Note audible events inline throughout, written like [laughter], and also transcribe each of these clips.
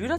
lytter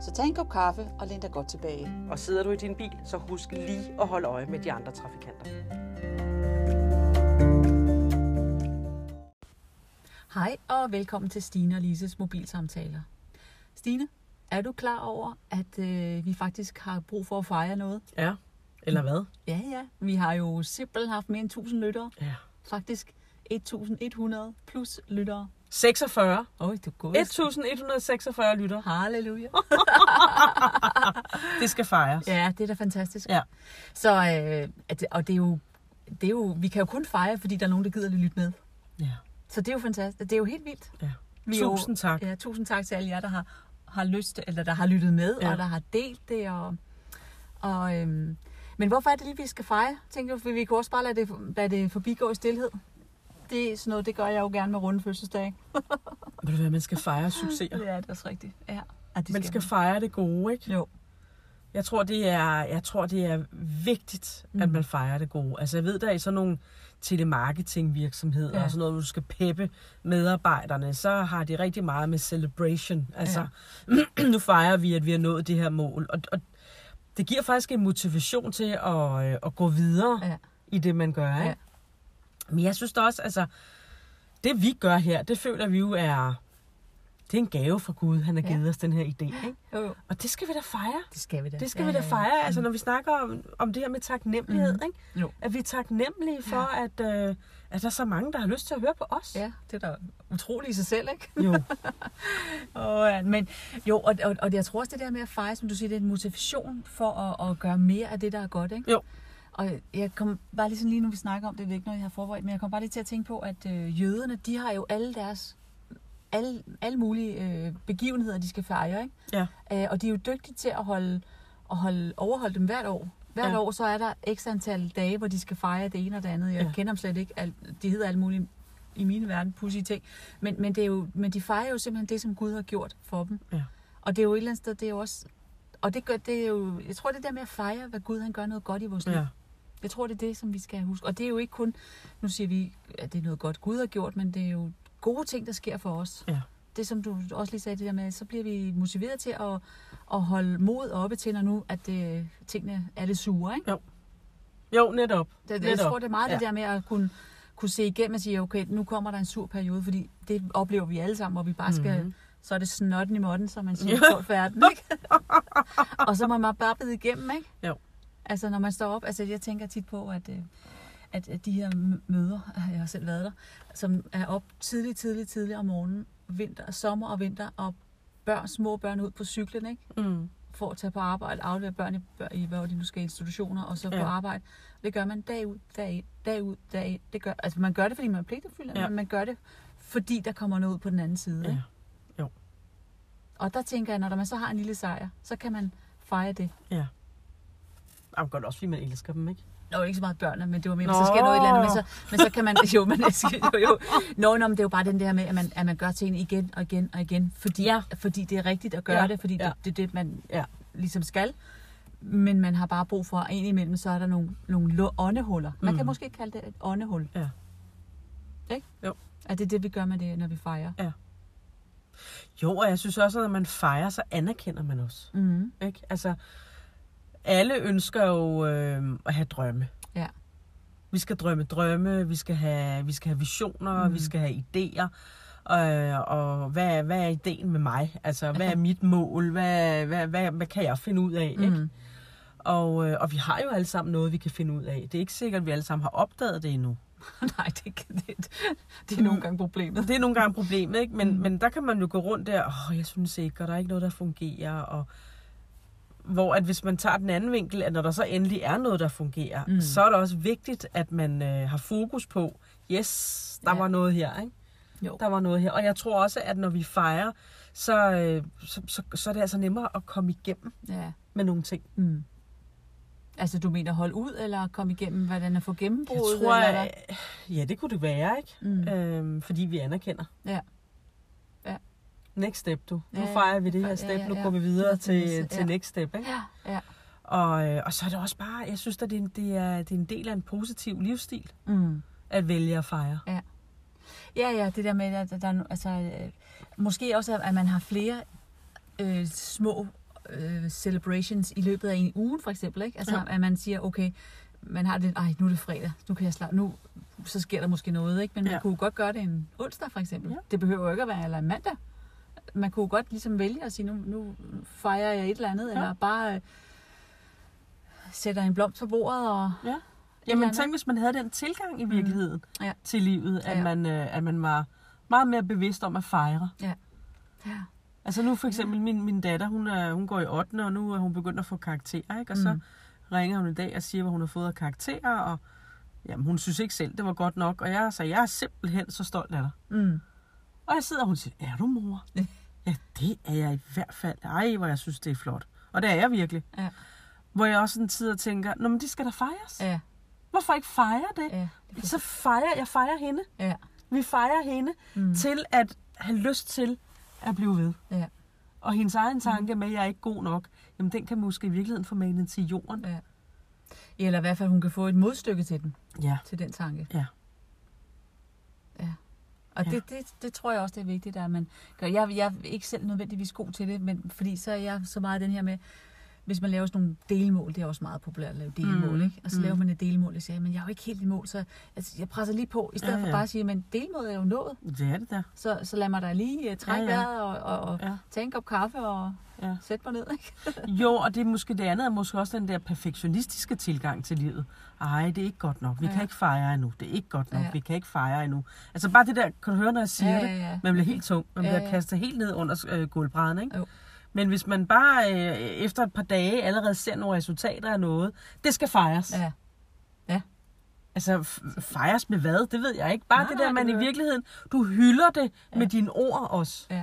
Så tag en kop kaffe og læn dig godt tilbage. Og sidder du i din bil, så husk lige at holde øje med de andre trafikanter. Hej og velkommen til Stine og Lises mobilsamtaler. Stine, er du klar over, at øh, vi faktisk har brug for at fejre noget? Ja, eller hvad? Ja, ja. Vi har jo simpelthen haft mere end 1000 lyttere. Ja. Faktisk 1100 plus lyttere. 46. Oj, du er god. 1146 lytter. Halleluja. Det skal fejres. Ja, det er da fantastisk. Ja. Så, øh, at, og det er, jo, det er jo, vi kan jo kun fejre, fordi der er nogen, der gider at lytte med. ja. Så det er jo fantastisk. Det er jo helt vildt. ja. Vi er jo- Tusind tak. Ja, tusind tak til alle jer, der har, har lyst, eller der har lyttet med, Ja. ja. og der har delt det. Og, og, øhm, men hvorfor er det lige, vi skal fejre? Tænker du, for vi kan også bare lade det, lade det forbigå i stillhed. Det er sådan noget, det gør jeg jo gerne med runde fødselsdag. Ved du hvad, man skal fejre succeser. Ja, det er også rigtigt. Ja. Ja, det Man skal fejre det gode, ikke? Jo. Jeg tror, det er, jeg tror, det er vigtigt, mm. at man fejrer det gode. Altså, jeg ved, der er i sådan nogle telemarketingvirksomheder Ja. ja. og sådan noget, hvor du skal peppe medarbejderne, så har det rigtig meget med celebration. Altså, ja. [clears throat] nu fejrer vi, at vi har nået det her mål. Og, og det giver faktisk en motivation til at, øh, at gå videre Ja. ja. i det, man gør, ikke? Ja. Ja. Men jeg synes da også, altså, det vi gør her, det føler vi jo er, det er en gave fra Gud, han har Ja. givet os den her [gasps] idé, ikke? Jo, jo. Og det skal vi da fejre. Det skal vi da. Det skal ja, vi da fejre, altså når vi snakker om, om det her med taknemmelighed, mm. ikke? Jo. At vi er taknemmelige for, ja. at, øh, at der er så mange, der har lyst til at høre på os. [laughs] Ja, det er da utroligt i sig selv, ikke? Jo. Oh, ja. Men jo, og, og, og jeg tror også, det der med at fejre, som du siger, det er en motivation for at, at gøre mere af det, der er godt, ikke? Jo. Og jeg kom bare lige sådan lige nu, vi snakker om det, det er ikke noget, jeg har forberedt, men jeg kom bare lige til at tænke på, at øh, jøderne, de har jo alle deres, alle, alle mulige øh, begivenheder, de skal fejre, ikke? Ja. Øh, og de er jo dygtige til at holde, at holde, overholde dem hvert år. Hvert ja. Ja. år, så er der x antal dage, hvor de skal fejre det ene og det andet. Jeg ja. Ja. kender dem slet ikke. Al, de hedder alle mulige, i min verden, pussy ting. Men, men, det er jo, men de fejrer jo simpelthen det, som Gud har gjort for dem. Ja. Og det er jo et eller andet sted, det er jo også... Og det gør, det er jo, jeg tror, det der med at fejre, hvad Gud han gør noget godt i vores liv. ja. Jeg tror, det er det, som vi skal huske. Og det er jo ikke kun, nu siger vi, at det er noget godt, Gud har gjort, men det er jo gode ting, der sker for os. Ja. Det, som du også lige sagde, det der med, så bliver vi motiveret til at, at holde mod oppe til, når nu, at det, tingene er lidt sure. Ikke? Jo, netop. Det, jeg netop. tror, det er meget ja. det Ja. der med at kunne, kunne se igennem og sige, okay, nu kommer der en sur periode, fordi det oplever vi alle sammen, hvor vi bare skal, mm-hmm. så er det snotten i måtten, som man siger, ja. på verden, ikke? og så må man bare bide igennem, ikke? Jo. Altså, når man står op, altså jeg tænker tit på, at, øh, at, at de her m- møder, [laughs] øh, jeg har selv været der, som er op tidligt, tidligt, tidligt om morgenen, vinter, sommer og vinter, og børn, små børn ud på cyklen, ikke? Mm. for at tage på arbejde, aflevere børn i, bør- i hvad de nu skal, institutioner, og så ja. Ja. på arbejde. Det gør man dag ud, dag ind, dag ud, dag ind. Det gør, altså man gør det, fordi man er pligtopfyldt, ja. Ja. men man gør det, fordi der kommer noget ud på den anden side. Ja. Ikke? Jo. Og der tænker jeg, når man så har en lille sejr, så kan man fejre det. Ja. Jamen, godt også, fordi man elsker dem, ikke? Nå, ikke så meget børnene, men det var mere, Nå. så sker noget et eller andet, men så, men så kan man, [laughs] jo, man elsker, jo, jo. Nå, nå, men det er jo bare den der med, at man, at man gør tingene igen og igen og igen, fordi, ja. Ja. fordi det er rigtigt at gøre ja. Ja, det, fordi ja. ja. det, det er det, man Ja. ligesom skal. Men man har bare brug for, at indimellem, så er der nogle, nogle lu- åndehuller. Man mm. kan Mm. måske kalde det et åndehul. Ja. Ikke? Jo. At det er det, vi gør med det, når vi fejrer. Jo, og jeg synes også, at når man fejrer, så anerkender man også. Mm. [laughs] Ikke? Altså, alle ønsker jo øh, at have drømme. Ja. Vi skal drømme drømme, vi skal have, vi skal have visioner, mm. vi skal have idéer. Øh, og hvad, hvad er ideen med mig? Altså, hvad er mit mål? Hvad, hvad, hvad, hvad kan jeg finde ud af? Ikke? Mm. Og, øh, og vi har jo alle sammen noget, vi kan finde ud af. Det er ikke sikkert, at vi alle sammen har opdaget det endnu. Nej, det, kan- det, det er nogle gange problemet. Det er nogle gange problemet, ikke? Men, mm. men der kan man jo gå rundt der, åh, oh, jeg synes ikke, og der er ikke noget, der fungerer, og hvor at hvis man tager den anden vinkel, at når der så endelig er noget, der fungerer, Mm. mm. så er det også vigtigt, at man øh, har fokus på, yes, der Ja. ja. var noget her, ikke? Jo. Der var noget her. Og jeg tror også, at når vi fejrer, så, øh, så, så, så er det altså nemmere at komme igennem Ja. med nogle ting. Mm. Altså, du mener holde ud, eller komme igennem, hvordan at få Jeg gennembrudet? tror, eller hvad? at, ja, det kunne det være, ikke? Mm. Øhm, fordi vi anerkender. Ja. Ja. Next step, du. Nu Ja, ja. fejrer vi det Ja, her ja, step, nu ja. går vi videre Nå, til, præcis. til Ja. next step, ikke? Ja, ja. Og, øh, og så er det også bare, jeg synes, at det, er en- det, er, det er en del af en positiv livsstil, Mm. at vælge at fejre. Ja, ja, det der med, at der, der er no- altså, øh, måske også, at man har flere øh, små øh, celebrations i løbet af en uge, for eksempel, ikke? Altså, Ja. ja. at man siger, okay, man har det, ej, nu er det fredag, nu kan jeg slappe, nu, så sker der måske noget, ikke? Men man Ja. ja. kunne jo godt gøre det en onsdag, for eksempel. Ja. Ja. Det behøver jo ikke at være, eller en mandag. Man kunne jo godt ligesom vælge at sige, nu, nu fejrer jeg et eller andet, Ja. ja. eller bare øh, sætter en blomst på bordet, og Jamen andet. tænk, hvis man havde den tilgang i virkeligheden mm. Ja. til livet, at, ja. Ja. man, øh, at man var meget mere bevidst om at fejre. ja. Altså nu for eksempel min, min datter, hun, er, hun går i 8. og nu er hun begyndt at få karakterer, ikke? Og mm. så Mm. ringer hun i dag og siger, hvad hun har fået af karakterer, og jamen, hun synes ikke selv, det var godt nok. Og jeg sagde, jeg er simpelthen så stolt af dig. Mm. Og jeg sidder, og hun siger, er du [laughs] mor? Ja. ja, det er jeg i hvert fald. Ej, hvor jeg synes, det er flot. Og det er jeg virkelig. Ja. Hvor jeg også sådan sidder og tænker, nå, men de skal da fejres. Ja, Hvorfor ikke fejre det? ja, Så fejrer jeg fejrer hende. ja. Vi fejrer hende mm. Mm. til at have lyst til at blive ved. Ja. Og hendes egen tanke med, at jeg er ikke god nok, jamen den kan måske i virkeligheden få manet til jorden. Ja. Eller i hvert fald, hun kan få et modstykke til den, Ja. til den tanke. Ja. Ja. Og Ja. ja. Det, det, det, tror jeg også, det er vigtigt, at man gør. Jeg, jeg er ikke selv nødvendigvis god til det, men fordi så er jeg så meget den her med, hvis man laver sådan nogle delmål, det er også meget populært at lave delmål, Mm. mm. ikke? Og så Mm. mm. laver man et delmål, og siger, men jeg er jo ikke helt i mål, så altså, jeg presser lige på, i stedet Ja, ja, ja. ja. for bare at sige, men delmålet er jo nået, Det er det der. så, så lad mig da lige uh, trække Ja, ja, ja. ja. vejret og, og, og Ja. ja. tage en kop kaffe og Ja. ja. sætte mig ned, ikke? Jo, og det er måske det andet, er måske også den der perfektionistiske tilgang til livet. Ej, det er ikke godt nok. Vi ja. kan Ja. ikke fejre endnu. Det er ikke godt nok. Ja. Ja. Vi kan ikke fejre endnu. Altså bare det der, kan du høre, når jeg siger Ja, det? ja, ja. Man bliver helt tung. Man Ja, bliver ja. kastet helt ned under øh, gulvbrædderne, ikke? Jo. Men hvis man bare øh, efter et par dage allerede ser nogle resultater af noget, det skal fejres. Ja, Altså f- fejres med hvad? Det ved jeg ikke. Bare Nej, det der, nej, man det i ved jeg. virkeligheden, du hylder det ja. Ja. med dine ord også.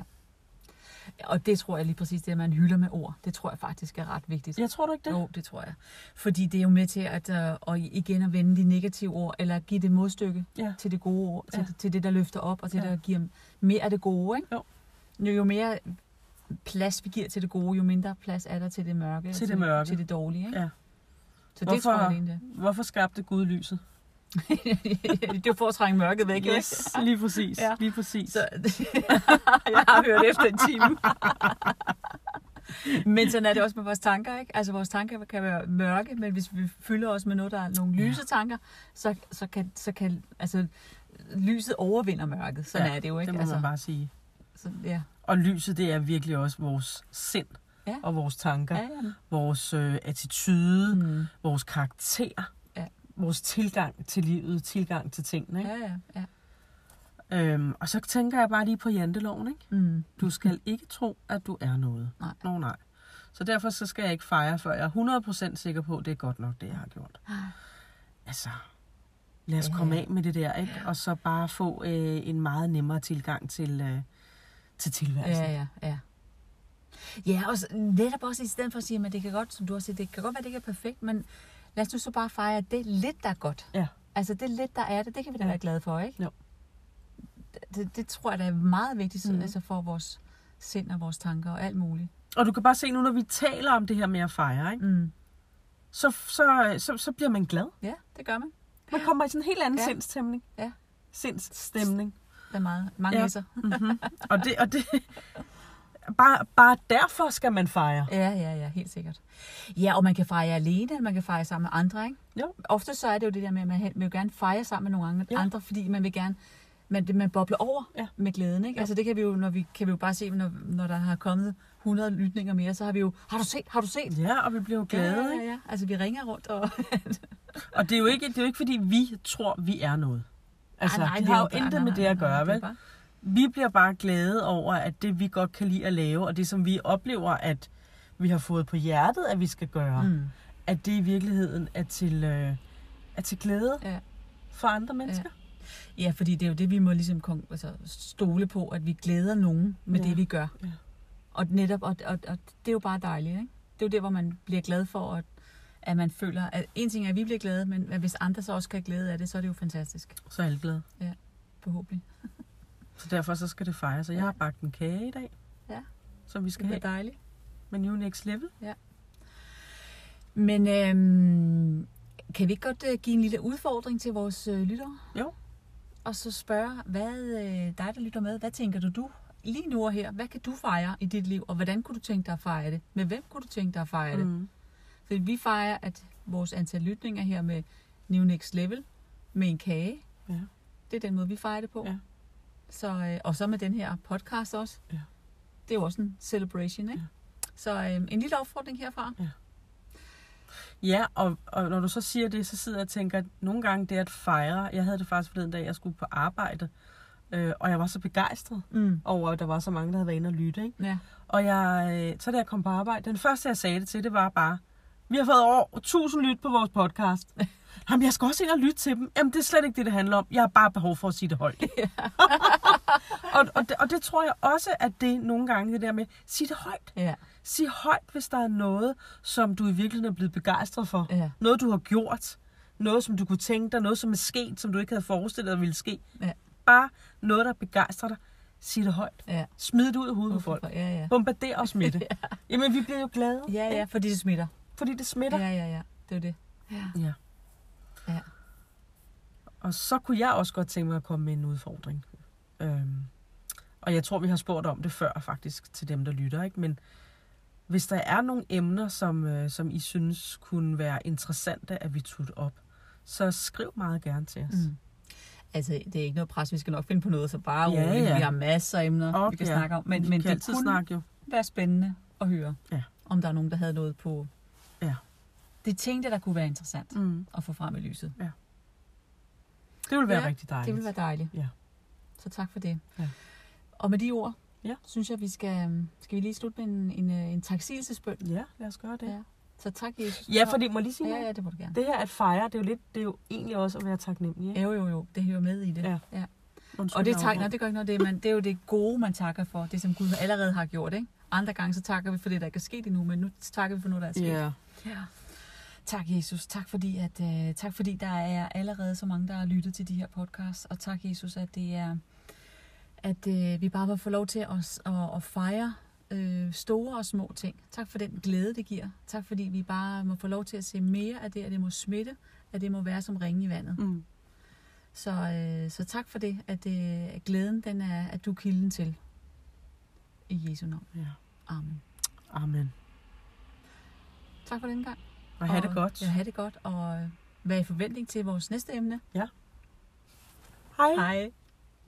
og det tror jeg lige præcis, det at man hylder med ord, det tror jeg faktisk er ret vigtigt. Jeg tror du ikke det? Jo, det tror jeg. Fordi det er jo med til at, øh, og igen at vende de negative ord, eller give det modstykke Ja. til det gode ord, til, Ja. det, til det, der løfter op, og til Ja. ja. der giver mere af det gode. Ikke? Jo. Nu, jo mere plads vi giver til det gode, jo mindre plads er der til det mørke. og Til det mørke. Til det dårlige. Ikke? Ja. Så det Hvorfor- tror jeg egentlig. Hvorfor skabte Gud lyset? [laughs] det er for at trænge mørket væk. ikke? Yes, lige præcis. Ja. Ja. Lige præcis. Så, [laughs] jeg har hørt efter en time. [laughs] men sådan er det også med vores tanker, ikke? Altså vores tanker kan være mørke, men hvis vi fylder os med noget, der er nogle Ja. lyse tanker, så, så, kan, så kan, altså, lyset overvinder mørket. Sådan Ja, er det jo, ikke? det må altså, man bare sige. så, ja. Og lyset, det er virkelig også vores sind Ja. og vores tanker, Ja, ja. ja. vores øh, attitude, mm. Mm. vores karakter, Ja. vores tilgang til livet, tilgang til tingene. Ikke? ja, ja, ja. Ja. Øhm, og så tænker jeg bare lige på janteloven. Ikke? Mm. Du skal ikke tro, at du er noget. Nej. Nå, nej. Så derfor så skal jeg ikke fejre, før jeg er 100% sikker på, at det er godt nok, det jeg har gjort. Altså, lad os Ah. Ja. komme af med det der, ikke? Og så bare få øh, en meget nemmere tilgang til, øh, til tilværelsen. Ja, ja, ja. Ja, og så- netop også i stedet for at sige, at det kan godt, som du også siger, det kan godt være, det ikke er perfekt, men lad os nu så bare fejre, at det er lidt, der er godt. Ja. Altså det lidt, der er det, det kan vi da Ja. være glade for, ikke? Jo. Det, det tror jeg, der er meget vigtigt Mhm. mm. altså for vores sind og vores tanker og alt muligt. Og du kan bare se nu, når vi taler om det her med at fejre, ikke? Mm. Så, så, så, så bliver man glad. Ja, det gør man. Man kommer i sådan en helt anden ja. Ja. sindstemning. Ja. Sindsstemning. Der er meget, mange Ja. ja. Hisser. Mm-hmm. og det, og det [laughs] bare, bare derfor skal man fejre. [laughs] Ja, ja, ja, helt sikkert. Ja, og man kan fejre alene, man kan fejre sammen med andre, ikke? Jo. Ofte så er det jo det der med, at man hen- vil jo gerne fejre sammen med nogle andre, Ja. ja. andre fordi man vil gerne man, det- man bobler over Ja. ja. med glæden, ikke? Ja. Altså det kan vi jo, når vi, kan vi jo bare se, når, når der har kommet 100 lytninger mere, så har vi jo, har du set, har du set? Ja, og vi bliver jo glade, ja, ikke? ja, ja. Altså vi ringer rundt og... Og det er, jo ikke, det er jo ikke, fordi vi tror, vi er noget. Altså, Ej, Ej, nej, det er har jo bare- intet nej, med nej, det at nej, nej, gøre, det er vel? bare- Vi bliver bare glade over, at det vi godt kan lide at lave, og det som vi oplever, at vi har fået på hjertet, at vi skal gøre, mm. Mm. at det i virkeligheden er til, øh, er til glæde Ja. for andre mennesker. Ja, fordi det er jo det, vi må ligesom kon- altså, stole på, at vi glæder nogen med Ja. ja. det, vi gør. Ja. Og netop, og, og, og det er jo bare dejligt, ikke? Det er jo der, hvor man bliver glad for, at, at man føler, at en ting er, at vi bliver glade, men at hvis andre så også kan have glæde af det, så er det jo fantastisk, Så er alle glade. forhåbentlig. Så derfor så skal det fejres. Og jeg har bagt en kage i dag. Ja. Som vi Det skal bliver have dejligt. med New Next Level. Men øhm, kan vi ikke godt øh, give en lille udfordring til vores øh, lyttere? Jo. Og så spørge, hvad øh, dig, der lytter med, hvad tænker du, du lige nu og her, hvad kan du fejre i dit liv, og hvordan kunne du tænke dig at fejre det? Med hvem kunne du tænke dig at fejre det? Mm. Fordi vi fejrer, at vores antal lytninger her med New Next Level, med en kage, Ja. det er den måde, vi fejrer det på. Ja. Så, øh, og så med den her podcast også. Ja. Det er jo også en celebration, ikke? Ja. Så øh, en lille opfordring herfra. Ja, og, og når du så siger det, så sidder jeg og tænker, at nogle gange det at fejre, jeg havde det faktisk forleden dag, jeg skulle på arbejde, øh, og jeg var så begejstret Mm. over, at der var så mange, der havde været inde og lytte. Ikke? Ja. Og jeg, øh, så da jeg kom på arbejde, den første, jeg sagde det til, det var bare, vi har fået over 1000 lyt på vores podcast. [laughs] Jamen, jeg skal også ind og lytte til dem. Jamen, det er slet ikke det, det handler om. Jeg har bare behov for at sige det højt. [laughs] og, og, det, og det tror jeg også, at det nogle gange, det der med, sig det højt. Ja. Sig højt, hvis der er noget, som du i virkeligheden er blevet begejstret for. Ja. Noget, du har gjort. Noget, som du kunne tænke dig. Noget, som er sket, som du ikke havde forestillet dig ville ske. Ja. Bare noget, der begejstrer dig. Sig det højt. Ja. Smid det ud i hovedet på folk. Ja, ja. Bombarder os med [laughs] det. Jamen, vi bliver jo glade, Ja, ja, fordi det smitter. fordi det smitter. Ja, ja, ja. Det er jo det. ja. Ja. Og så kunne jeg også godt tænke mig at komme med en udfordring. Øhm, og jeg tror, vi har spurgt om det før faktisk til dem, der lytter. Ikke? Men hvis der er nogle emner, som, øh, som I synes kunne være interessante, at vi tog op, så skriv meget gerne til os. Mm. Altså, det er ikke noget pres. Vi skal nok finde på noget, så bare Ja, ja, ja. ja. Vi har masser af emner, Op, vi kan ja. snakke om. Men, Vi men kan det altid kunne snakke jo. være spændende at høre, Ja. om der er nogen, der havde noget på... Ja. Det tænkte jeg, der kunne være interessant Mm. at få frem i lyset. Det ville være Ja, ja, rigtig dejligt. Det ville være dejligt. Ja. Så tak for det. Ja. Og med de ord, Ja. synes jeg, vi skal, øhm, skal vi lige slutte med en, en, øh, en taksigelsesbøn. Ja, lad os gøre det. Ja. Så tak, Jesus. Ja, fordi må jeg lige sige Ja, noget? ja, det må du gerne. Det her at fejre, det er jo, lidt, det er jo egentlig også at være taknemmelig. Ikke? Jo, jo, jo. Det hører med i det. Ja. ja. Undskyld, Og det, jeg tak, nej, afbrød. det gør ikke noget. Det er, man, det er jo det gode, man takker for. Det, som Gud allerede har gjort. Ikke? Andre gange, så takker vi for det, der ikke er sket endnu, men nu takker vi for noget, der er sket. Ja. Ja. Tak, Jesus. Tak fordi, at, øh, tak fordi der er allerede så mange, der har lyttet til de her podcasts. Og tak, Jesus, at det er at øh, vi bare må få lov til at, at, at fejre øh, store og små ting. Tak for den glæde, det giver. Tak fordi vi bare må få lov til at se mere af det, at det må smitte, at det må være som ringe i vandet. Mm. Så, øh, så tak for det, at øh, at glæden den er, at du er kilden til. I Jesu navn. ja. Amen. Amen. Tak for den gang. Og have det godt. Ja, have det godt, og øh, vær i forventning til vores næste emne. Hej. Hej.